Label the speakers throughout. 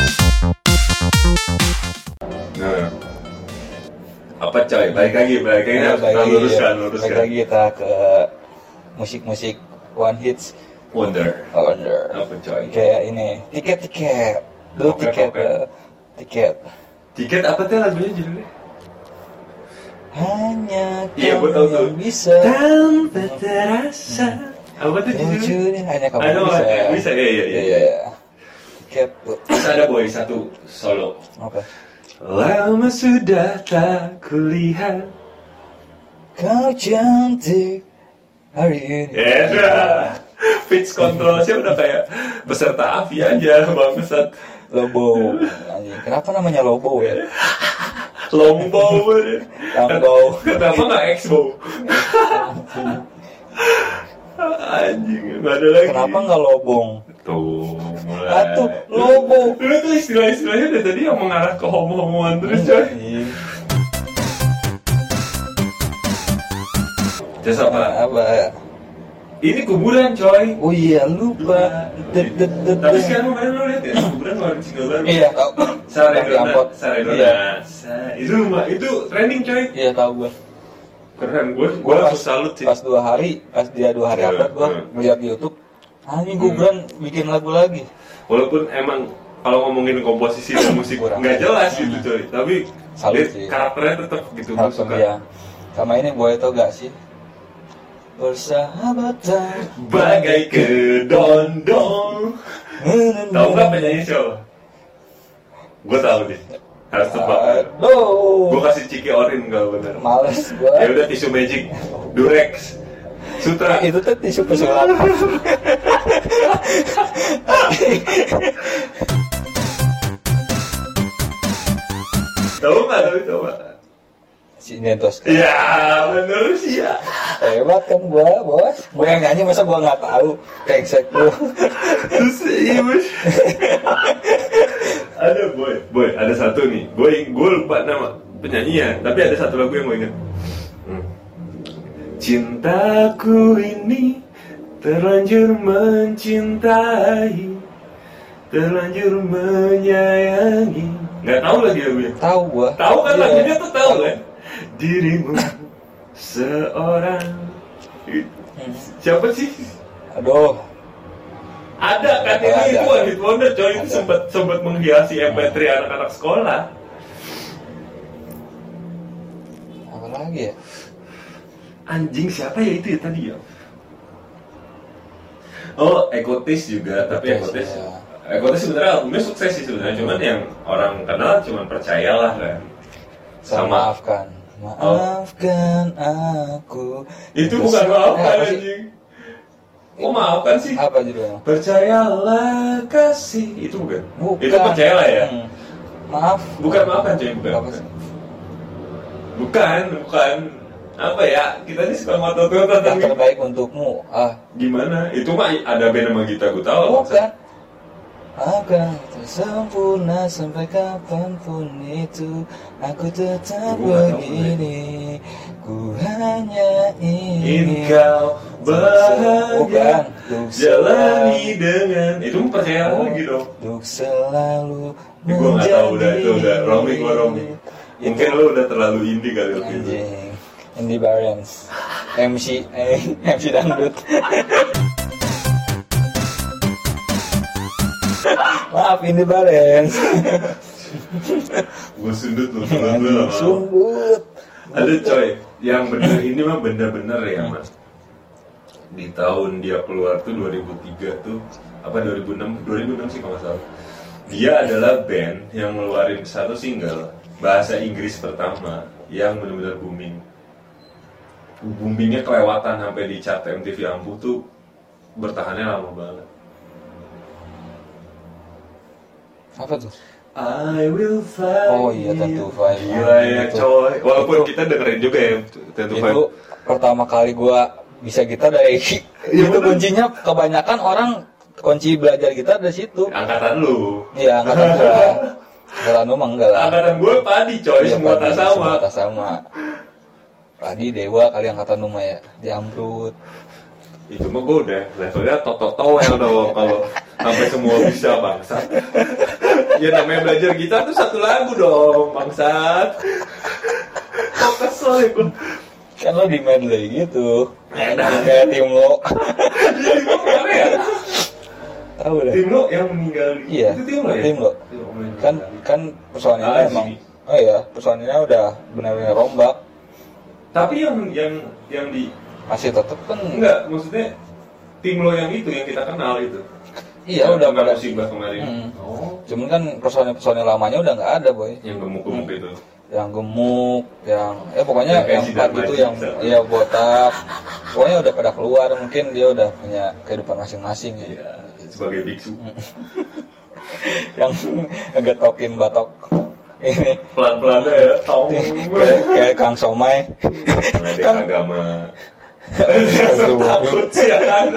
Speaker 1: lagi.
Speaker 2: Nah. Balik lagi, balik lagi.
Speaker 1: Iya,
Speaker 2: Nah, luruskan, luruskan.
Speaker 1: Balik lagi kita ke musik-musik one hits
Speaker 2: Wonder.
Speaker 1: wonder.
Speaker 2: Apa, coy?
Speaker 1: Kayak ini tiket-tiket. Dulu
Speaker 2: Oke,
Speaker 1: tiket
Speaker 2: oke.
Speaker 1: eh, tiket.
Speaker 2: Tiket apa tuh lagunya judulnya?
Speaker 1: Hanya
Speaker 2: Iya,
Speaker 1: kamu
Speaker 2: gua tahu tuh.
Speaker 1: yang bisa.
Speaker 2: Tanpa terasa. Apa tuh judulnya?
Speaker 1: Wujudnya hanya kamu
Speaker 2: Aduh,
Speaker 1: yang bisa.
Speaker 2: hanya bisa, iya, iya, iya.
Speaker 1: Tiket.
Speaker 2: Terus ada boy satu solo.
Speaker 1: Apa?
Speaker 2: Lama sudah tak kulihat.
Speaker 1: Kau cantik hari ini.
Speaker 2: Ya, pitch controlnya udah kayak beserta api aja, bangsat.
Speaker 1: Lobo. Anjing, Kenapa namanya Lobo ya?
Speaker 2: Longbow. ya.
Speaker 1: Longbow.
Speaker 2: Kenapa nggak expo? Anjing, nggak ada lagi.
Speaker 1: Kenapa nggak Lobong?
Speaker 2: Tuh, mulai.
Speaker 1: Atuh, Lobo.
Speaker 2: Lu tuh istilah-istilahnya dari tadi yang mengarah ke homo-homoan terus, coy.
Speaker 1: Anjing.
Speaker 2: Terus apa?
Speaker 1: Apa?
Speaker 2: Ini kuburan, coy.
Speaker 1: Oh iya lupa. Ded, ded, ded,
Speaker 2: Tapi
Speaker 1: ded.
Speaker 2: sekarang kemarin lu lihat ya, kuburan ngeluarin single baru.
Speaker 1: Iya tahu.
Speaker 2: Saredona,
Speaker 1: Diangkut.
Speaker 2: Saredona.
Speaker 1: Iya.
Speaker 2: Sa- Itu rumah, itu trending coy.
Speaker 1: Iya tahu gue.
Speaker 2: Keren, gue gue langsung salut sih.
Speaker 1: Pas dua hari, pas dia dua hari
Speaker 2: Iya,
Speaker 1: upload gue
Speaker 2: iya. Hmm.
Speaker 1: melihat di YouTube. "Ah, Anjing gue Gibran bikin lagu lagi.
Speaker 2: Walaupun emang kalau ngomongin komposisi dan musik
Speaker 1: Kurang.
Speaker 2: nggak jelas gitu coy, tapi
Speaker 1: Salut
Speaker 2: dia
Speaker 1: sih.
Speaker 2: karakternya tetap gitu gue
Speaker 1: Harus
Speaker 2: suka.
Speaker 1: dia. iya. Sama ini boy tau gak sih? Bersahabatan
Speaker 2: Bagai kedondong. Tahu nggak penyanyi siapa? Gue tahu deh. Harus tebak.
Speaker 1: Ah. Aduh.
Speaker 2: Gue kasih ciki orin kalau bener.
Speaker 1: Males
Speaker 2: kan- Ya
Speaker 1: gua.
Speaker 2: udah tisu magic, durex, sutra.
Speaker 1: Itu tuh tisu pesulap.
Speaker 2: Tahu nggak? Tahu tahu nggak?
Speaker 1: Si Nentos.
Speaker 2: Ya bener sih ya.
Speaker 1: Hebat kan gua, Bos. Gua yang nyanyi masa gua nggak tahu. Kengsek lu.
Speaker 2: Terus iya Bos. ada boy, boy ada satu nih. Boy, gue lupa nama penyanyinya, tapi ada satu lagu yang gue inget. Hmm. Cintaku ini terlanjur mencintai, terlanjur menyayangi. Nggak tahu lagi lagunya.
Speaker 1: Tahu gua.
Speaker 2: Tahu kan
Speaker 1: Iya.
Speaker 2: lagunya tuh tahu kan? Dirimu seorang. Siapa sih?
Speaker 1: Aduh.
Speaker 2: Ada kan
Speaker 1: Ada,
Speaker 2: ini
Speaker 1: ada,
Speaker 2: itu
Speaker 1: ada.
Speaker 2: one hit wonder coy itu
Speaker 1: Ada.
Speaker 2: sempat sempat menghiasi MP3 anak-anak sekolah.
Speaker 1: Apa lagi ya?
Speaker 2: Anjing siapa ya itu ya tadi ya? Oh, Ekotis juga, tapi
Speaker 1: Ekotis,
Speaker 2: Ekotis
Speaker 1: ya.
Speaker 2: Ekotis sebenarnya albumnya sukses sih sebenarnya, cuman yang orang kenal cuman percayalah kan.
Speaker 1: Saya
Speaker 2: Sama. Oh.
Speaker 1: maafkan. Maafkan aku.
Speaker 2: Itu
Speaker 1: Terus-
Speaker 2: bukan maaf
Speaker 1: Eh,
Speaker 2: kan
Speaker 1: apa sih?
Speaker 2: anjing. Oh maaf kan sih?
Speaker 1: Apa judulnya?
Speaker 2: Percayalah kasih itu bukan?
Speaker 1: Bukan.
Speaker 2: Itu percayalah ya.
Speaker 1: Hmm. Maaf.
Speaker 2: Bukan maafkan cuy, bukan.
Speaker 1: Apa sih?
Speaker 2: Bukan, bukan. Apa ya? Kita ini suka ngotot-ngotot
Speaker 1: Yang
Speaker 2: tapi
Speaker 1: terbaik untukmu. Ah,
Speaker 2: gimana? Itu mah ada band sama Gita Gutawa.
Speaker 1: Bukan. Akan sempurna sampai kapanpun itu Aku tetap
Speaker 2: Gua nggak tahu,
Speaker 1: begini Ku hanya
Speaker 2: Ingin
Speaker 1: ingin
Speaker 2: kau
Speaker 1: Bukan.
Speaker 2: bahagia Jalani
Speaker 1: Selalu-
Speaker 2: dengan Itu mah percaya
Speaker 1: Oh.
Speaker 2: lagi dong Eh,
Speaker 1: Untuk selalu
Speaker 2: Ini gue gak tau udah itu udah Romi gue Romi
Speaker 1: Itu
Speaker 2: Mungkin lu udah gitu. terlalu indie kali waktu itu
Speaker 1: Anjing Andy Barons MC eh, MC Dangdut Maaf Andy Barons
Speaker 2: Gue sundut lu sundut
Speaker 1: Iya,
Speaker 2: lu lama-lama.
Speaker 1: Sumbut
Speaker 2: Ada coy Yang bener ini mah bener-bener ya
Speaker 1: Hmm.
Speaker 2: mas Di tahun dia keluar tuh 2003 tuh Apa 2006 2006 sih kalau nggak salah Dia adalah band yang ngeluarin satu single Bahasa Inggris pertama Yang bener-bener booming boomingnya kelewatan sampai di chart MTV Ampuh tuh bertahannya lama banget.
Speaker 1: Apa tuh?
Speaker 2: I will find
Speaker 1: Oh
Speaker 2: you.
Speaker 1: iya, Tattoo Five.
Speaker 2: Gila ya
Speaker 1: Itu.
Speaker 2: coy. Walaupun
Speaker 1: Itu.
Speaker 2: kita dengerin juga ya Tattoo Five.
Speaker 1: Itu pertama kali gua bisa gitar dari
Speaker 2: Iya,
Speaker 1: Itu
Speaker 2: bener.
Speaker 1: kuncinya kebanyakan orang kunci belajar gitar dari situ
Speaker 2: Angkatan lu.
Speaker 1: Iya angkatan gua Angkatan lu mah enggak lah
Speaker 2: Angkatan gue padi coy,
Speaker 1: Iya,
Speaker 2: Oh, semua
Speaker 1: padi,
Speaker 2: tak
Speaker 1: semua
Speaker 2: sama.
Speaker 1: tak sama. Padi Dewa kali angkatan lu mah ya Diamrut
Speaker 2: Itu mah gue udah levelnya toto toel dong kalau sampai semua bisa bangsa. ya namanya belajar gitar tuh satu lagu dong bangsat. Fokus soalnya gue
Speaker 1: Kan lo di medley gitu.
Speaker 2: Enak.
Speaker 1: Kayak tim lo.
Speaker 2: jadi gue kemana ya
Speaker 1: Tahu deh.
Speaker 2: tim lo yang meninggal di
Speaker 1: Iya,
Speaker 2: itu tim lo ya
Speaker 1: tim
Speaker 2: Ya,
Speaker 1: lo.
Speaker 2: Allah, yang
Speaker 1: Kan
Speaker 2: meninggal.
Speaker 1: kan personilnya
Speaker 2: Ah,
Speaker 1: emang
Speaker 2: sih.
Speaker 1: Oh iya, personilnya udah benar-benar rombak.
Speaker 2: tapi yang yang yang di
Speaker 1: Masih tetep kan
Speaker 2: enggak maksudnya tim lo yang itu yang kita kenal itu Yang
Speaker 1: Iya, udah
Speaker 2: kena
Speaker 1: pada-
Speaker 2: musibah kemarin
Speaker 1: Hmm.
Speaker 2: oh
Speaker 1: Cuman kan personil-personil lamanya udah nggak ada, boy.
Speaker 2: yang gemuk-gemuk
Speaker 1: Hmm.
Speaker 2: itu
Speaker 1: Yang gemuk, yang eh pokoknya
Speaker 2: Yang kayak
Speaker 1: yang
Speaker 2: si
Speaker 1: empat
Speaker 2: Darmaji
Speaker 1: itu yang
Speaker 2: misalnya.
Speaker 1: iya botak. Pokoknya udah pada keluar, mungkin dia udah punya kehidupan masing-masing ya.
Speaker 2: iya sebagai biksu
Speaker 1: Yang ngetokin batok ini
Speaker 2: pelan-pelan aja ya tahu
Speaker 1: kayak, kayak Kang Somai.
Speaker 2: Meledek
Speaker 1: Kan-
Speaker 2: agama takut sih ya kan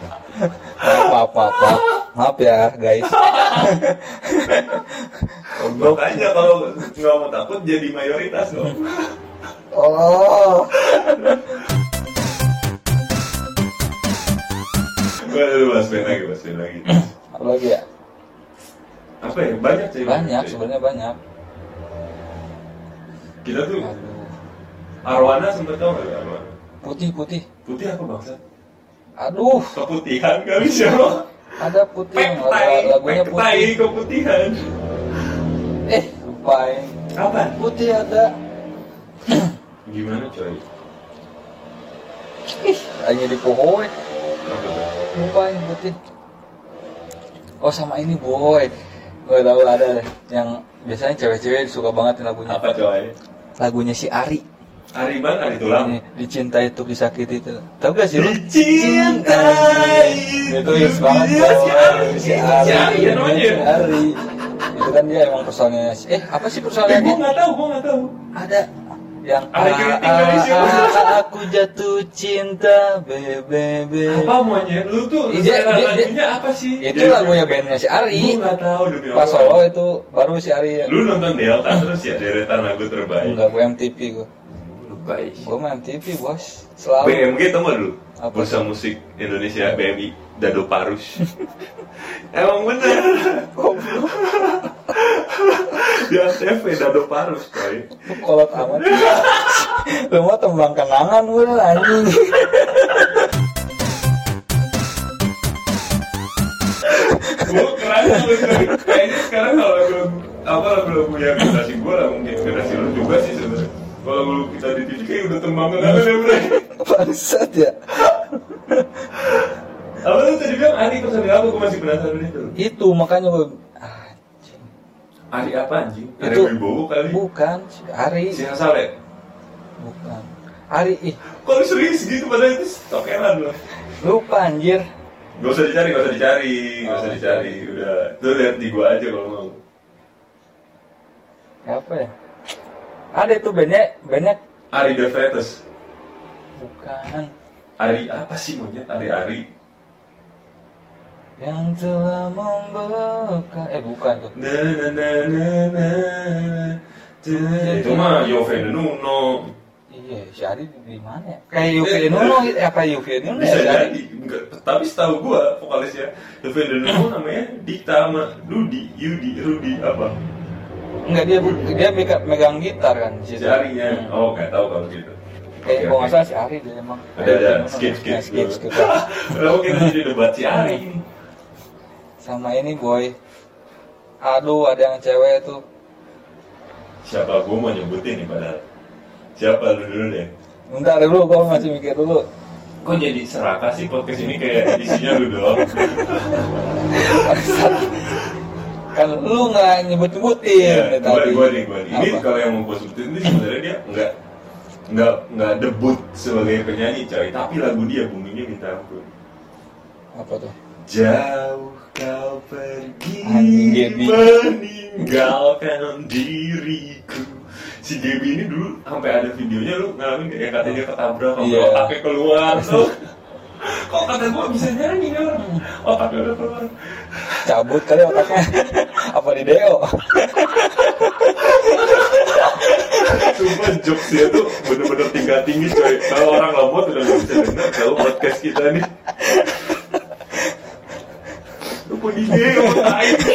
Speaker 1: maaf, maaf, maaf. Maaf ya, guys.
Speaker 2: makanya kalau nggak mau takut jadi mayoritas dong
Speaker 1: Oh.
Speaker 2: Waduh, bahas band lagi bahas band lagi
Speaker 1: Apa lagi ya?
Speaker 2: apa ya banyak sih
Speaker 1: Banyak,
Speaker 2: sih.
Speaker 1: sebenarnya banyak.
Speaker 2: kita tuh
Speaker 1: Aduh.
Speaker 2: arwana sempet tau nggak arwana
Speaker 1: Putih, putih.
Speaker 2: putih apa bangsa
Speaker 1: Aduh,
Speaker 2: keputihan kali siapa
Speaker 1: ada putih yang
Speaker 2: pektai
Speaker 1: lagu- lagunya
Speaker 2: pektai
Speaker 1: Iya, putih.
Speaker 2: keputihan
Speaker 1: Eh, lupa ya.
Speaker 2: apa
Speaker 1: Putih ada.
Speaker 2: gimana coy
Speaker 1: Hanya di pohon.
Speaker 2: Apa tuh?
Speaker 1: Lupa yang putih. Oh, sama ini boy. Gue tahu ada deh. yang biasanya cewek-cewek suka banget lagunya.
Speaker 2: apa coy
Speaker 1: Lagunya si Ari.
Speaker 2: Ari ban Ari tulang
Speaker 1: Ini, dicintai untuk disakiti itu. Tahu gak sih lu?
Speaker 2: Dicintai
Speaker 1: Itu hits banget
Speaker 2: Iya,
Speaker 1: boy.
Speaker 2: si Ari.
Speaker 1: Si Ari.
Speaker 2: Si Ari, ya namanya ya?
Speaker 1: Si Ari. Itu kan dia emang personnya. si- Eh, apa sih
Speaker 2: Eh,
Speaker 1: personnya?
Speaker 2: gue nggak tahu gue nggak tahu
Speaker 1: ada yang
Speaker 2: Ada keriting dari
Speaker 1: "Ah,
Speaker 2: siapa?"
Speaker 1: ah, ah, aku jatuh cinta bebe
Speaker 2: apa maunya lu tuh lu
Speaker 1: Iya,
Speaker 2: selera
Speaker 1: dia- dia-
Speaker 2: lagunya apa sih
Speaker 1: itu lagunya bandnya si
Speaker 2: gue
Speaker 1: Ari
Speaker 2: nggak tahu demi
Speaker 1: pas
Speaker 2: Allah.
Speaker 1: solo itu baru si Ari
Speaker 2: Iya, lu nonton Delta terus ya deretan lagu terbaik
Speaker 1: enggak gue MTV gue
Speaker 2: lupa
Speaker 1: gue main MTV bos selalu
Speaker 2: BMG tau gak dulu
Speaker 1: Apa?
Speaker 2: Bursa Musik Indonesia BMI Dado Parus Emang bener Di ACV Dado Parus coy
Speaker 1: Lu kolot amat lu mau tembang kenangan gue anjing
Speaker 2: Gue keren lu coy. Kayaknya sekarang kalau lagu Apa lagu-lagu yang generasi gue lah Mungkin generasi lu juga sih sebenernya kalau lagu kita di TV kayak udah tembang kenangan ya bro
Speaker 1: bangsat ya
Speaker 2: Apa lu tadi bilang Ari pesan apa? Gue masih penasaran itu
Speaker 1: itu makanya gue anjing
Speaker 2: Ari apa anjing? Ari
Speaker 1: Itu-
Speaker 2: Wibowo kali
Speaker 1: bukan si Ari
Speaker 2: Si Hasal ya?
Speaker 1: bukan Ari ih
Speaker 2: Kok lu serius gitu padahal itu stokelan loh
Speaker 1: lupa anjir
Speaker 2: Gak usah dicari, gak usah dicari, gak usah dicari, udah. Lu lihat di gua aja kalau mau.
Speaker 1: apa ya ada itu bandnya bandnya
Speaker 2: Ari the Fetus.
Speaker 1: bukan
Speaker 2: Ari apa sih monyet? Ari Ari.
Speaker 1: yang telah membuka eh bukan tuh
Speaker 2: Na na na na na. na. Ya, Itu mah Yovene Nuno.
Speaker 1: iya si Ari di mana ya kayak Yuki Nuno gitu. apa Yuki Nuno
Speaker 2: Iya.
Speaker 1: ya
Speaker 2: Bisa
Speaker 1: si Ari
Speaker 2: jadi. Enggak, tapi setahu gua vokalisnya Yovene Nuno namanya Dita sama Dudi, Yudi, Rudi apa?
Speaker 1: enggak dia dia mega- megang gitar kan
Speaker 2: Si
Speaker 1: di situ.
Speaker 2: Arinya.
Speaker 1: Hmm.
Speaker 2: Oh, nggak tahu kalau gitu. Oke, oke.
Speaker 1: kayak kalau Eh, nggak salah si Ari dia emang
Speaker 2: Ada ada
Speaker 1: Yuki Nuno.
Speaker 2: skip skip.
Speaker 1: Nah, skip skip
Speaker 2: Kenapa kita jadi debat si Ari ini?
Speaker 1: sama ini boy aduh ada yang cewek tuh
Speaker 2: Siapa gua mau nyebutin nih padahal. Siapa lu dulu deh?
Speaker 1: bentar dulu gue masih mikir dulu
Speaker 2: Kok jadi serakah sih podcast ini kayak isinya lu doang?
Speaker 1: kan lu nggak nyebut nyebutin
Speaker 2: Iya, gua gua nih, gua nih. Ini kalau yang mau gue sebutin ini sebenarnya dia nggak nggak nggak debut sebagai penyanyi coy, tapi lagu dia boomingnya minta ampun.
Speaker 1: apa tuh
Speaker 2: Jauh kau pergi
Speaker 1: Anjing, Gaby.
Speaker 2: meninggalkan diriku. Si Gaby ini dulu sampai ada videonya lu ngalamin nggak? yang katanya dia ketabrak, kalau
Speaker 1: Iya.
Speaker 2: otaknya keluar tuh. Kok kata gua bisa nyanyi kan? Otaknya udah keluar.
Speaker 1: cabut kali otaknya apa di deo
Speaker 2: Sumpah jokes dia tuh bener-bener tingkat tinggi coy Kalau orang lemot udah gak bisa denger Kalau podcast kita nih Lu kok di deo tai gitu.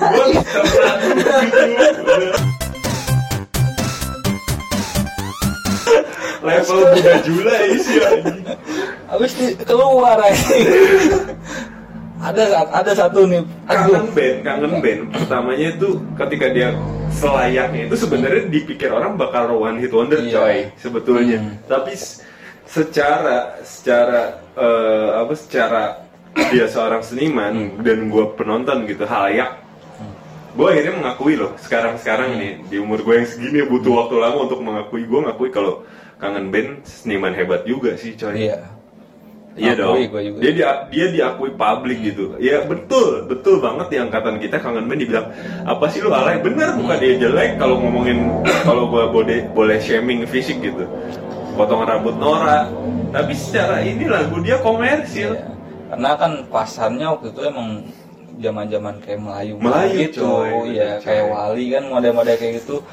Speaker 2: Gue bisa level Bunda Julai sih anjing.
Speaker 1: Habis di keluar anjing. ada saat ada satu nih. Aduh.
Speaker 2: kangen band kangen band pertamanya itu ketika dia selayaknya itu sebenarnya dipikir orang bakal one hit wonder
Speaker 1: Iya. Hmm.
Speaker 2: coy sebetulnya tapi s- secara secara eh, apa secara dia seorang seniman
Speaker 1: Hmm.
Speaker 2: dan gua penonton gitu halayak gue akhirnya mengakui loh sekarang
Speaker 1: Hmm.
Speaker 2: sekarang nih di umur gue yang segini butuh waktu lama untuk mengakui gue ngakui kalau kangen band seniman hebat juga sih coy
Speaker 1: Iya.
Speaker 2: Iya dong.
Speaker 1: Akui gua juga.
Speaker 2: Dia dia dia diakui publik gitu. Ya betul, betul banget di angkatan kita kangen band dibilang apa sih lu alay? Bener bukan dia jelek kalau ngomongin kalau gua boleh boleh shaming fisik gitu. Potongan rambut Nora. Tapi secara ini lagu dia komersil.
Speaker 1: Iya. Karena kan pasarnya waktu itu emang zaman-zaman kayak Melayu
Speaker 2: Melayu,
Speaker 1: gitu,
Speaker 2: coy.
Speaker 1: ya
Speaker 2: Coy.
Speaker 1: kayak Wali kan model-model kayak gitu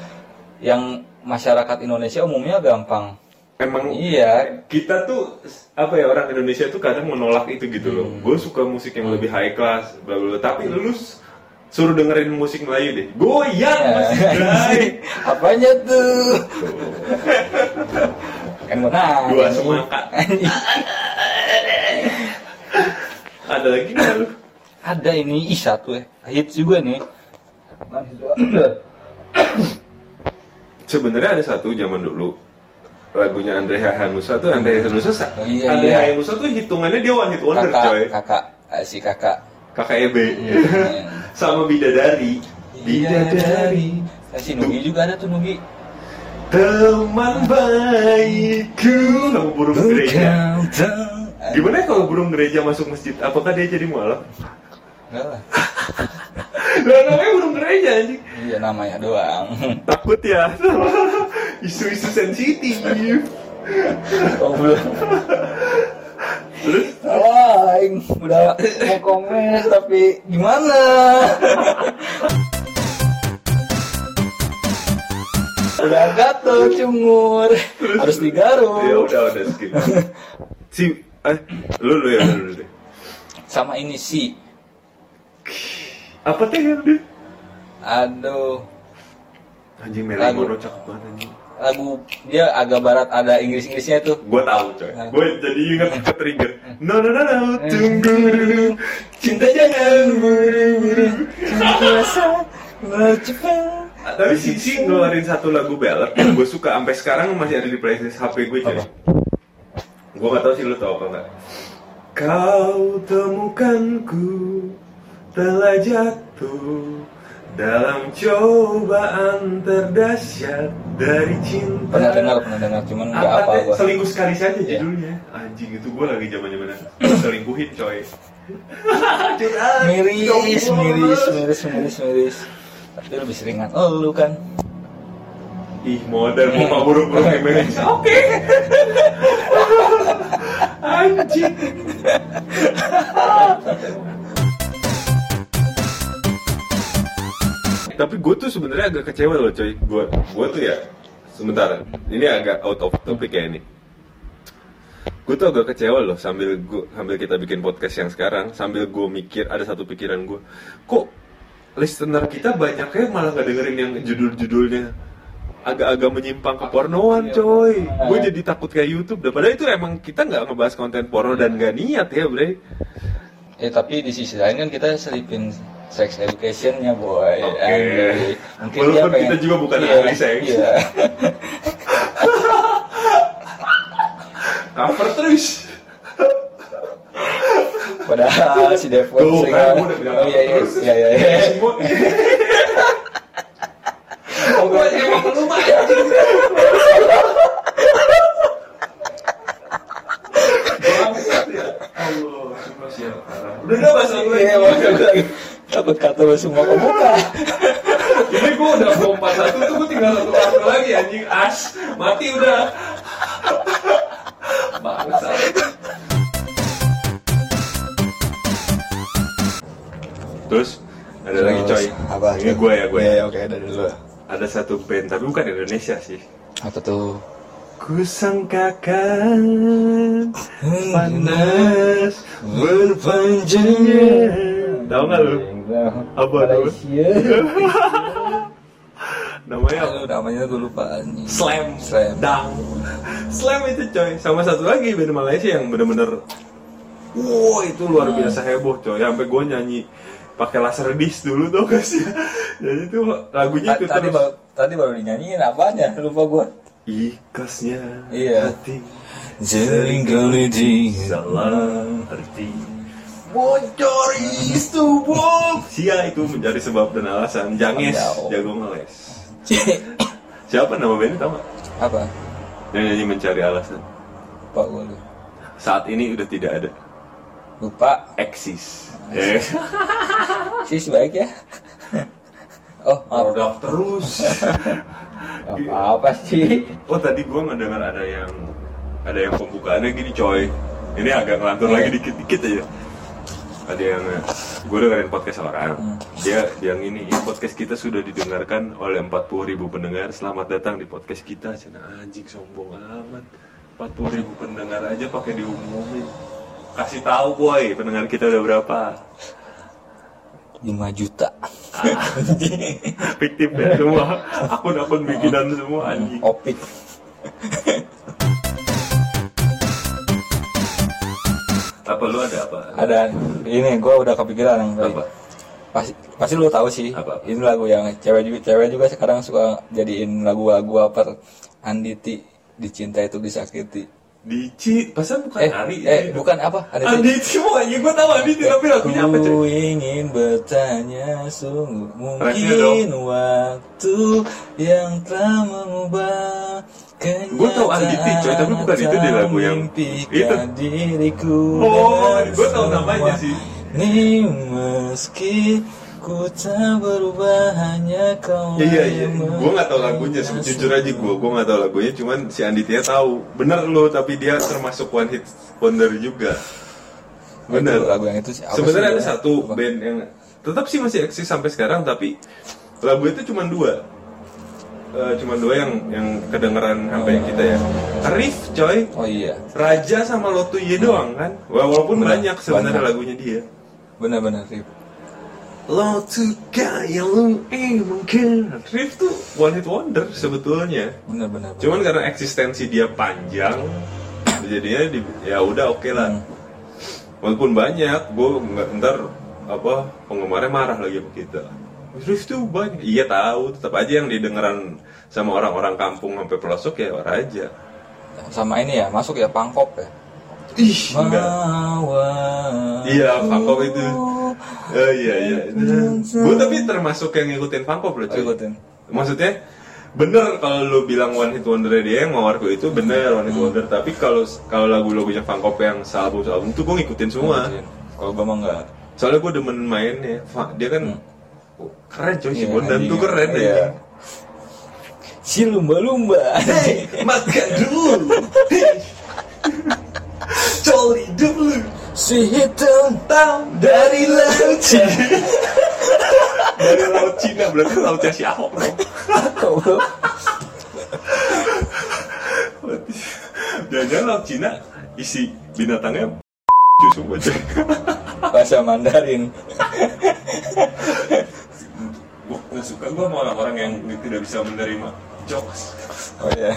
Speaker 1: yang masyarakat Indonesia umumnya gampang.
Speaker 2: Emang
Speaker 1: Iya,
Speaker 2: kita tuh apa ya orang Indonesia tuh kadang menolak itu gitu loh.
Speaker 1: Hmm.
Speaker 2: Gue suka musik yang lebih high class, bla bla. bla. Tapi lu s- suruh dengerin musik Melayu deh. Goyang
Speaker 1: Iya.
Speaker 2: masih guys.
Speaker 1: Apanya tuh? kan gue nanya.
Speaker 2: Dua semangka. Ada lagi nggak lu?
Speaker 1: Ada ini ih satu ya. Hits juga nih. Nah,
Speaker 2: Sebenarnya ada satu zaman dulu lagunya Andre Hanusa tuh Andre Hanusa sa-
Speaker 1: Oh, iya,
Speaker 2: Andre
Speaker 1: iya.
Speaker 2: Hanusa tuh hitungannya dia one hit wonder
Speaker 1: kakak,
Speaker 2: coy Iya.
Speaker 1: kakak, eh, si kakak.
Speaker 2: kakak EB sama Bidadari
Speaker 1: Iya.
Speaker 2: Bidadari
Speaker 1: Eh, Si Nugi juga ada tuh Nugi.
Speaker 2: teman baikku sama burung gereja
Speaker 1: Berkantang. Eh,
Speaker 2: gimana ya kalau burung gereja masuk masjid apakah dia jadi mualaf
Speaker 1: enggak lah.
Speaker 2: lah namanya burung gereja anjing
Speaker 1: Iya namanya doang.
Speaker 2: takut ya isu-isu sensitif Oh,
Speaker 1: Goblok.
Speaker 2: terus
Speaker 1: Wah, aing udah mau komen tapi gimana? udah gatel cungur harus
Speaker 2: ya
Speaker 1: digaruk
Speaker 2: udah udah skip si eh lu lu ya lu, lu deh
Speaker 1: sama ini si
Speaker 2: apa teh yang deh
Speaker 1: aduh
Speaker 2: anjing
Speaker 1: Lagu.
Speaker 2: Melimono cakep banget anjing
Speaker 1: lagu dia agak barat ada Inggris-Inggrisnya tuh
Speaker 2: gue tahu coy
Speaker 1: Nah.
Speaker 2: gue jadi inget ke trigger
Speaker 1: Eh.
Speaker 2: no no no no tunggu dulu cinta jangan buru-buru Ah, tapi si si ngeluarin satu lagu ballad yang gue suka sampai sekarang masih ada di playlist HP gue coy
Speaker 1: Apa?
Speaker 2: gue gak tau sih lu tau apa nggak kau temukanku telah jatuh dalam cobaan terdahsyat dari cinta
Speaker 1: pernah dengar pernah dengar cuman nggak
Speaker 2: apa
Speaker 1: apa
Speaker 2: teh?
Speaker 1: gua
Speaker 2: selingkuh sekali saja
Speaker 1: Iya.
Speaker 2: judulnya anjing itu gue lagi zaman zaman selingkuhin coy Curhat,
Speaker 1: miris
Speaker 2: ya Allah.
Speaker 1: miris miris miris miris tapi lebih seringan oh lu kan
Speaker 2: ih modern muka buruk buruk emang oke anjing tapi gue tuh sebenarnya agak kecewa loh coy gue gue tuh ya sebentar ini agak out of topic ya ini gue tuh agak kecewa loh sambil gua, sambil kita bikin podcast yang sekarang sambil gue mikir ada satu pikiran gue kok listener kita banyaknya malah nggak dengerin yang judul-judulnya agak-agak menyimpang ke pornoan coy gue jadi takut kayak YouTube dah padahal itu emang kita nggak ngebahas konten porno dan gak niat ya bre
Speaker 1: Eh tapi di sisi lain kan kita selipin sex educationnya boy.
Speaker 2: Oke.
Speaker 1: Anjay. Mungkin dia
Speaker 2: Walaupun
Speaker 1: pengen-
Speaker 2: kita juga bukan
Speaker 1: Iya,
Speaker 2: ahli seks.
Speaker 1: Iya.
Speaker 2: cover terus
Speaker 1: Padahal si Devon
Speaker 2: Tuh,
Speaker 1: sering-
Speaker 2: kan, gua udah bilang
Speaker 1: Oh iya iya
Speaker 2: terus.
Speaker 1: iya iya. iya.
Speaker 2: Semua-
Speaker 1: Oh, gua-
Speaker 2: Bangsat ya. Allah, sumpah sial, parah. Udah udah bahasa gue
Speaker 1: Iya, makanya gua lagi takut kata lu semua kebuka.
Speaker 2: Ini gue udah bom 41 tuh gue tinggal satu kartu lagi anjing as mati udah. Bangsat. Terus ada lagi coy.
Speaker 3: Apa?
Speaker 2: Ini gue ya gue.
Speaker 3: Iya, iya, oke, dari dulu.
Speaker 2: Ada satu band tapi bukan Indonesia sih.
Speaker 1: Apa tuh?
Speaker 2: Kusangkakan panas berpanjangnya. Tahu nggak lu? Apa tuh?
Speaker 1: Iya, Malaysia.
Speaker 2: Namanya apa?
Speaker 1: Aduh, namanya gue lupa anjing.
Speaker 2: Slam,
Speaker 1: Slam.
Speaker 2: Dang, Slam itu coy. Sama satu lagi band Malaysia yang bener-bener Wow itu luar
Speaker 1: Hmm.
Speaker 2: biasa heboh coy. Sampai gue nyanyi pakai laser disc dulu tuh guys ya. Jadi tuh lagunya
Speaker 1: Ta-
Speaker 2: itu
Speaker 1: tadi
Speaker 2: Iya, terus.
Speaker 1: baru tadi baru dinyanyiin apanya lupa gua
Speaker 2: Ikhlasnya
Speaker 1: Iya.
Speaker 2: hati
Speaker 1: Seringkali di-
Speaker 2: salah arti bocor isu Bob. Sia itu mencari sebab dan alasan. Janges
Speaker 1: Jauh.
Speaker 2: jago ngeles. Siapa nama bandnya tau gak?
Speaker 1: apa
Speaker 2: Yang nyanyi mencari alasan.
Speaker 1: lupa gua lu
Speaker 2: Saat ini udah tidak ada.
Speaker 1: lupa
Speaker 2: Eksis. Eh.
Speaker 1: sih sebaik ya oh maaf
Speaker 2: Produk terus.
Speaker 1: apa apa sih
Speaker 2: oh tadi gua mendengar ada yang ada yang pembukaannya gini coy. Ini agak ngelantur lagi dikit-dikit aja. Ada yang gue dengerin podcast orang. Dia yang ini podcast kita sudah didengarkan oleh 40.000 ribu pendengar. Selamat datang di podcast kita. Cina anjing sombong amat. 40.000 ribu pendengar aja pakai diumumin. Kasih tahu boy pendengar kita udah berapa.
Speaker 1: 5 juta
Speaker 2: Fiktif ya semua. Akun-akun bikinan semua anjing.
Speaker 1: opik
Speaker 2: Apa lu ada apa?
Speaker 1: ada ini gua udah kepikiran yang tadi.
Speaker 2: apa?
Speaker 1: pasti pasti lu tahu sih
Speaker 2: Apa?
Speaker 1: ini lagu yang cewek juga cewek juga sekarang suka jadiin lagu-lagu apa Anditi dicinta itu disakiti
Speaker 2: Dici, pasan bukan
Speaker 1: eh
Speaker 2: Ari
Speaker 1: eh
Speaker 2: ya?
Speaker 1: bukan apa Anditi
Speaker 2: Anditi mau aja gue ya tahu Anditi tapi lagunya apa cuy?
Speaker 1: Ku ingin bertanya sungguh
Speaker 2: Refnya dong.
Speaker 1: mungkin waktu yang telah mengubah kenyataan
Speaker 2: Gua tahu Anditi, coy, tapi bukan itu deh lagu yang-
Speaker 1: mimpikan diriku
Speaker 2: Oh,
Speaker 1: dan
Speaker 2: gua tahu namanya
Speaker 1: semua
Speaker 2: sih.
Speaker 1: Ini meski ku tak berubah hanya kau
Speaker 2: Iya iya iya,
Speaker 1: yang
Speaker 2: gue nggak tahu lagunya.
Speaker 1: membuat
Speaker 2: Jujur aja gue, gue nggak tahu lagunya. Cuman si Anditinya tahu. Bener lu, tapi dia termasuk one hit wonder juga. Bener.
Speaker 1: Itu lagu yang itu sih, apa
Speaker 2: Sebenarnya
Speaker 1: sih
Speaker 2: ada
Speaker 1: ya?
Speaker 2: satu
Speaker 1: Apa?
Speaker 2: band yang tetap sih masih eksis sampai sekarang, tapi lagu itu cuma dua. Eh, cuma dua yang yang kedengeran sampai kita ya. Arif coy,
Speaker 1: oh iya
Speaker 2: Raja sama Lotuye doang kan? Walaupun
Speaker 1: Bener,
Speaker 2: banyak sebenarnya
Speaker 1: banyak.
Speaker 2: lagunya dia.
Speaker 1: benar-benar Rip.
Speaker 2: Lo tuh gaya lu emang keren. Riff tuh one hit wonder sebetulnya.
Speaker 1: benar-benar
Speaker 2: Cuman karena eksistensi dia panjang, jadinya di- ya udah oke lah. Walaupun banyak, gue nggak ntar apa penggemarnya marah lagi sama kita. Riff tuh banyak. Iya tahu, tetap aja yang didengeran sama orang-orang kampung sampai pelosok ya Raja.
Speaker 1: sama ini ya masuk ya pangkop ya
Speaker 2: Ih, enggak.
Speaker 1: Mawar.
Speaker 2: Iya, Pangkop itu. Eh, iya iya. Gue tapi termasuk yang ngikutin Pangkop loh cuy.
Speaker 1: Oh, ikutin.
Speaker 2: Maksudnya bener kalau lu bilang one hit wonder dia yang mawarku itu bener one hit wonder tapi kalau kalau lagu-lagunya Pangkop yang album album itu gue ngikutin semua.
Speaker 1: Iya. Kalau gue mah enggak.
Speaker 2: Soalnya gue demen mainnya. Fa- Dia kan keren coy si
Speaker 1: Iya,
Speaker 2: Bondan
Speaker 1: anjing.
Speaker 2: tuh keren
Speaker 1: Iya.
Speaker 2: ya.
Speaker 1: Si lumba-lumba.
Speaker 2: Hei, makan dulu. Hei. Coli dulu.
Speaker 1: si hitam
Speaker 2: Tahu
Speaker 1: dari laut.
Speaker 2: dari laut Cina berarti lautnya si Ahok dong.
Speaker 1: Ah, Goblok.
Speaker 2: Jangan-jangan laut Cina isi binatangnya sumpah cuy.
Speaker 1: Bahasa Mandarin.
Speaker 2: Gua nggak suka gua sama orang-orang yang tidak bisa menerima jokes.
Speaker 1: Oh iya.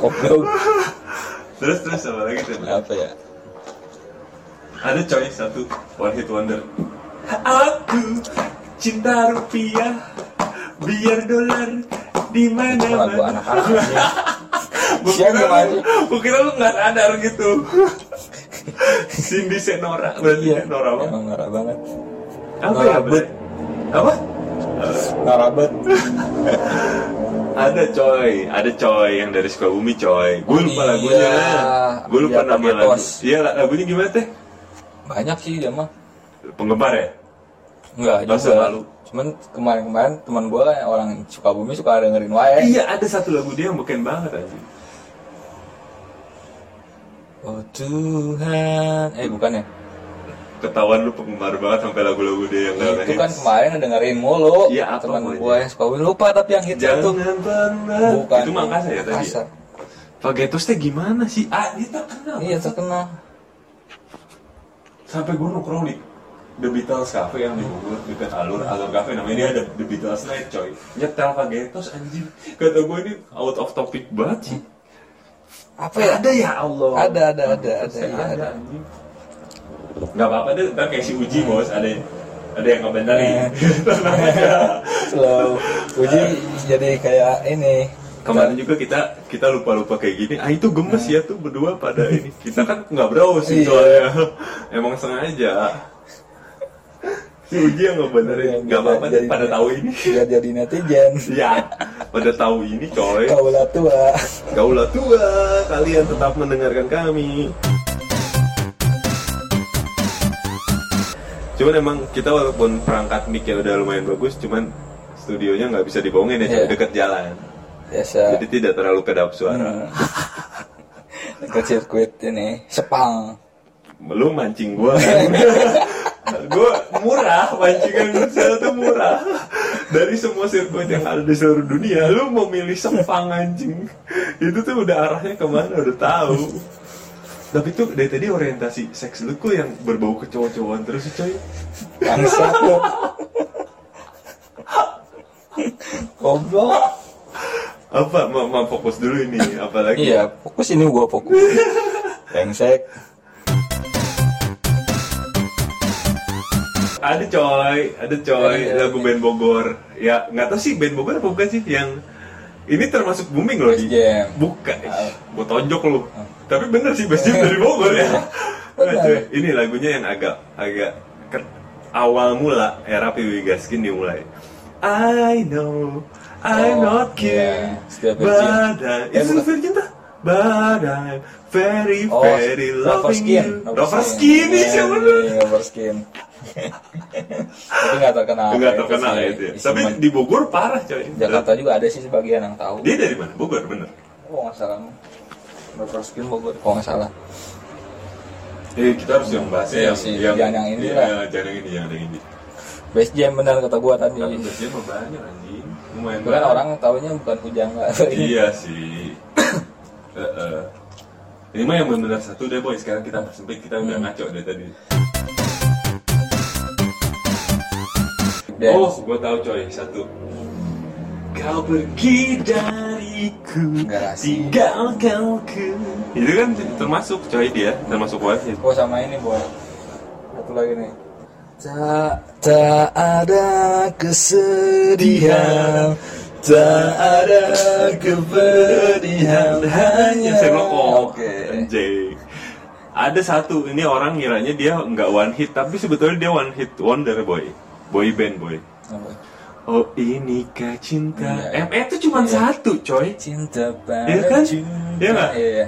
Speaker 1: Goblok.
Speaker 2: Terus terus apa lagi tuh?
Speaker 1: Apa ya?
Speaker 2: Ada coy satu one hit wonder. Aku cinta rupiah biar dolar di mana
Speaker 1: Itu lagu anak-anak sih. Siang
Speaker 2: kira,
Speaker 1: kemarin.
Speaker 2: lu- gua kira lu nggak sadar gitu. Cindy Senora berarti
Speaker 1: Iya.
Speaker 2: Senora apa?
Speaker 1: Emang norak banget.
Speaker 2: Apa ya?
Speaker 1: Norabet.
Speaker 2: Bet? Apa?
Speaker 1: Norak banget.
Speaker 2: Ada coy, ada coy yang dari Sukabumi coy. Gue lupa
Speaker 1: Iya.
Speaker 2: lagunya. Gue lupa
Speaker 1: Iya,
Speaker 2: nama
Speaker 1: pakai
Speaker 2: lagu.
Speaker 1: tos.
Speaker 2: Iya, la- lagunya gimana teh?
Speaker 1: Banyak sih dia mah.
Speaker 2: Penggemar ya?
Speaker 1: Eh. Enggak
Speaker 2: Masa
Speaker 1: juga.
Speaker 2: lalu?
Speaker 1: Cuman kemarin-kemarin teman gue orang Sukabumi suka dengerin wae.
Speaker 2: Iya, ada satu lagu dia yang beken banget aja.
Speaker 1: Oh Tuhan. Eh bukan ya.
Speaker 2: Ketahuan lu penggemar banget sampai lagu-lagu dia yang gak
Speaker 1: Itu kan
Speaker 2: ngehits.
Speaker 1: kemarin dengerin mulu.
Speaker 2: Iya, apa
Speaker 1: teman
Speaker 2: maunya?
Speaker 1: gue yang Sukabumi lupa tapi yang hits itu.
Speaker 2: Jangan pernah.
Speaker 1: Bukan.
Speaker 2: Itu Makassar ya tadi.
Speaker 1: Makassar.
Speaker 2: Pagetos teh gimana sih? Ah, dia tak kenal.
Speaker 1: Iya terkenal.
Speaker 2: Sampai gue nongkrong di The Beatles Cafe yang di Bogor dekat alur alur cafe namanya dia ada The Beatles Night coy nyetel pagetos anjing kata gue ini out of topic banget sih
Speaker 1: apa ya
Speaker 2: ada ya Allah
Speaker 1: Hmm. Ada, ada, ada, ada,
Speaker 2: Saya
Speaker 1: iya, ada.
Speaker 2: anjing. nggak apa-apa deh ntar kayak si Uji
Speaker 1: Hmm.
Speaker 2: bos ada ada yang
Speaker 1: Eh.
Speaker 2: ngebenerin Tenang aja.
Speaker 1: slow uji jadi kayak ini
Speaker 2: kemarin juga kita kita lupa-lupa kayak gini ah itu gemes ya tuh berdua pada ini kita kan nggak browsing
Speaker 1: Iya.
Speaker 2: soalnya emang sengaja si Uji yang
Speaker 1: Iya,
Speaker 2: ngebenerin nggak apa-apa deh pada tahu ini
Speaker 1: nggak jadi netizen
Speaker 2: ya pada tahu ini coy
Speaker 1: kaulah tua
Speaker 2: Kaulah tua, kalian tetap mendengarkan kami. Cuman emang kita walaupun perangkat mic ya udah lumayan bagus, cuman studionya nggak bisa dibohongin ya,
Speaker 1: Iya.
Speaker 2: cuy, dekat jalan.
Speaker 1: biasa
Speaker 2: Jadi tidak terlalu kedap suara.
Speaker 1: Hmm. ke sirkuit Hmm. ini Sepang
Speaker 2: Lu mancing gua kan. gua murah, mancingan futsal tuh murah. Dari semua sirkuit yang ada di seluruh dunia, lu mau milih Sepang anjing. Itu tuh udah arahnya kemana udah tahu. Tapi tuh dari tadi orientasi seks lu kok yang berbau ke cowok-cowokan terus sih, coy.
Speaker 1: bangsat lu goblok
Speaker 2: Apa mau mau fokus dulu ini apalagi?
Speaker 1: iya fokus ini gua fokus brengsek
Speaker 2: Ada coy, ada coy
Speaker 1: Ada, ada.
Speaker 2: lagu band Bogor. Ya nggak tahu sih band Bogor apa bukan sih yang ini termasuk booming loh di
Speaker 1: Best Jam.
Speaker 2: bukan gue tonjok lu
Speaker 1: Ah.
Speaker 2: tapi bener sih Best Jam dari Bogor ya Nah, cuy, ini lagunya yang agak agak ke- awal mula era PW Gaskin dimulai I know I'm
Speaker 1: Oh,
Speaker 2: not cute
Speaker 1: iya. Setiap
Speaker 2: but
Speaker 1: Virgin.
Speaker 2: I
Speaker 1: Eh,
Speaker 2: it's
Speaker 1: bukan.
Speaker 2: Virgin tuh but I'm very
Speaker 1: Oh,
Speaker 2: very loving
Speaker 1: skin. Iya,
Speaker 2: you Rover Skin iya, ini siapa lu?
Speaker 1: Rover skin. Tapi nggak terkenal.
Speaker 2: Enggak
Speaker 1: Itu
Speaker 2: terkenal
Speaker 1: sih,
Speaker 2: ya dia.
Speaker 1: isi
Speaker 2: Tapi
Speaker 1: men-
Speaker 2: di Bogor parah coy.
Speaker 1: iya. Jakarta juga ada sih sebagian yang tahu.
Speaker 2: Dia dari mana? Bogor bener.
Speaker 1: Oh nggak salah. Rover skin Bogor. Oh nggak salah.
Speaker 2: Eh kita harus yang bahas
Speaker 1: Iya sih, jangan yang ini lah.
Speaker 2: Iya, Jangan yang ini, jangan yang ini.
Speaker 1: Best jam benar kata gua tadi.
Speaker 2: Tapi biasanya mah banyak anjing. Lumayan
Speaker 1: Bukan orang tahunya bukan pujangga.
Speaker 2: Iya sih. Heeh. Ini mah yang benar satu deh boy. Sekarang kita persempit kita udah
Speaker 1: Hmm.
Speaker 2: ngaco dari tadi.
Speaker 1: Dan
Speaker 2: Oh, gua tahu coy satu. Kau pergi dariku,
Speaker 1: Garasi.
Speaker 2: tinggalkan ku. Itu kan termasuk coy dia, termasuk wajib.
Speaker 1: gua Oh, sama ini boy. Satu lagi nih. Tak tak ada kesedihan. Tak ada kepedihan hanya
Speaker 2: Sherlock Holmes.
Speaker 1: Oke.
Speaker 2: Anjay. oh, Ada satu ini orang ngiranya dia nggak one hit tapi sebetulnya dia one hit wonder boy. Boy band boy.
Speaker 1: Apa?
Speaker 2: Oh inikah cinta?
Speaker 1: Iya.
Speaker 2: M ME itu cuma
Speaker 1: Iya.
Speaker 2: satu coy.
Speaker 1: Cinta pada
Speaker 2: Iya kan?
Speaker 1: cinta.
Speaker 2: Iya nggak?
Speaker 1: Iya, iya.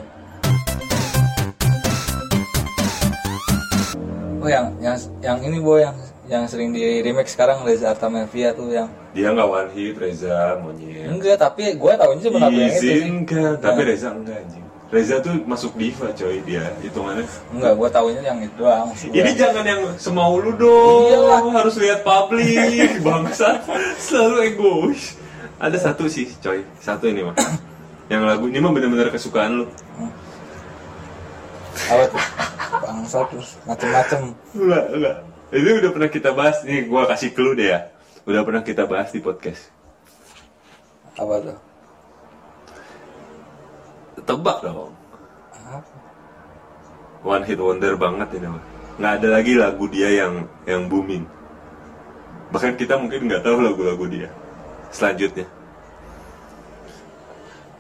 Speaker 1: Oh yang yang yang ini boy yang yang sering di remake sekarang Reza Artamevia tuh yang
Speaker 2: Dia nggak one hit Reza monyet.
Speaker 1: enggak tapi gue tahunya cuma lagu yang itu
Speaker 2: Iya.
Speaker 1: sih. Nah,
Speaker 2: Izinkan tapi Reza enggak anjing. Reza tuh masuk diva coy dia hitungannya.
Speaker 1: Enggak, gue tahunya yang itu doang. maksud gua.
Speaker 2: Ini jangan yang semau lu dong.
Speaker 1: Iyalah.
Speaker 2: Harus lihat publik. Bangsa selalu egois. Ada satu sih, coy. Satu ini mah. Yang lagu ini mah bener-bener kesukaan lu.
Speaker 1: apa tuh? Bangsa terus macem-macem.
Speaker 2: Enggak, enggak. Ini udah pernah kita bahas. Nih gua kasih clue deh ya. Udah pernah kita bahas di podcast.
Speaker 1: Apa tuh?
Speaker 2: Tebak dong.
Speaker 1: Apa?
Speaker 2: One hit wonder banget ini mah. Nggak ada lagi lagu dia yang yang booming. Bahkan kita mungkin nggak tahu lagu-lagu dia. Selanjutnya.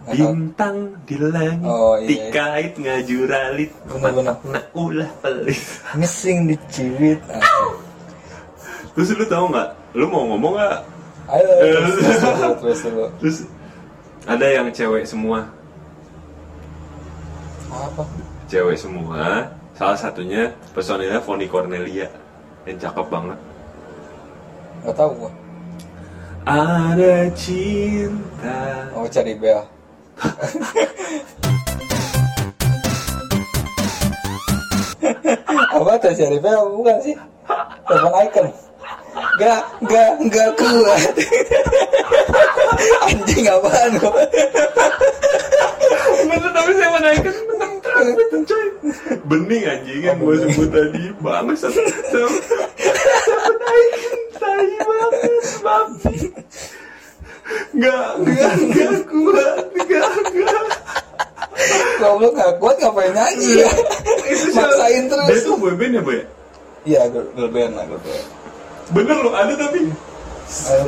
Speaker 1: Nggak tahu.
Speaker 2: Bintang di langit
Speaker 1: Oh, iya, iya.
Speaker 2: dikait ngaju ralit
Speaker 1: Bener-bener.
Speaker 2: Petak nak ulah pelis.
Speaker 1: Missing di ciwit. Ah.
Speaker 2: Terus lu tau nggak? Lu mau ngomong nggak?
Speaker 1: Ayo terus terus dulu, terus dulu.
Speaker 2: Terus ada yang cewek semua,
Speaker 1: Apa?
Speaker 2: cewek semua. Salah satunya personilnya Foni Cornelia yang cakep banget.
Speaker 1: Gak tau gue.
Speaker 2: Ada cinta.
Speaker 1: Oh cari bel. Apa tuh cari bel bukan sih? Telepon icon. Gak, gak, gak kuat. Anjing apaan gua?
Speaker 2: Bener tapi saya menaikkan menang terus. yang Beaton coy bening anjing yang gue sebut tadi bangsat sama sama Daikin tai banget babi nggak nggak nggak kuat nggak nggak
Speaker 1: Goblok nggak kuat ngapain nyanyi ya?
Speaker 2: itu siapa?
Speaker 1: Maksain
Speaker 2: dia
Speaker 1: terus.
Speaker 2: tuh boyband ya boy
Speaker 1: Iya, girl, girl band lah girl band.
Speaker 2: bener loh ada tapi
Speaker 1: Ayo.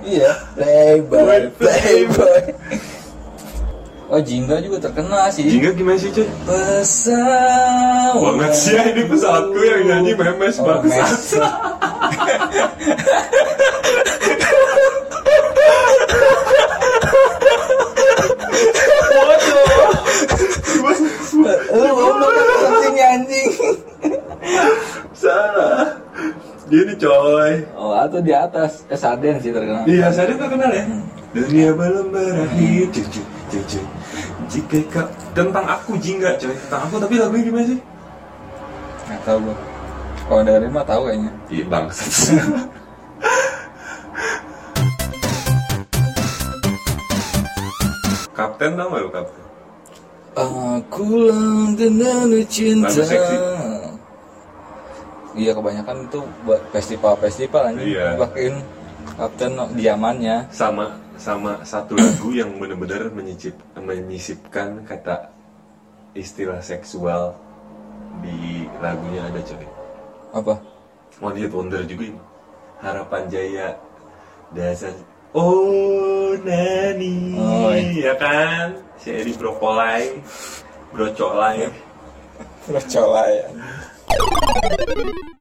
Speaker 1: Iya, playboy, playboy. Oh, Jingga juga terkenal sih.
Speaker 2: Jingga gimana sih coy
Speaker 1: Pesawat.
Speaker 2: Banget sih ya, ini pesawatku yang nyanyi memes
Speaker 1: Oh,
Speaker 2: banget.
Speaker 1: memes. Lu goblok kan anjing anjing.
Speaker 2: Salah. Gini coy.
Speaker 1: Oh, atau di atas eh, Saden sih terkenal.
Speaker 2: Iya, saya terkenal ya. Dunia belum berakhir, cucu, cucu. Jika kau- tentang aku jingga coy, tentang aku tapi lagunya gimana sih?
Speaker 1: Nggak tahu gua. Kalau dari mah tahu kayaknya.
Speaker 2: Iya bangsat. kapten tau gak lu kapten?
Speaker 1: Aku lang dengan cinta.
Speaker 2: Lagu seksi.
Speaker 1: Iya kebanyakan itu buat festival-festival anjing
Speaker 2: Iya.
Speaker 1: pakein kapten no- diamannya.
Speaker 2: Sama sama satu lagu yang benar-benar menyicip menyisipkan kata istilah seksual di lagunya ada coy.
Speaker 1: Apa?
Speaker 2: One Hit Wonder Oh, juga ini Harapan Jaya Dasar Oh Nani
Speaker 1: Oh,
Speaker 2: Ya
Speaker 1: iya.
Speaker 2: kan Si Edi Brokolai Brocolai
Speaker 1: Terus coba ya.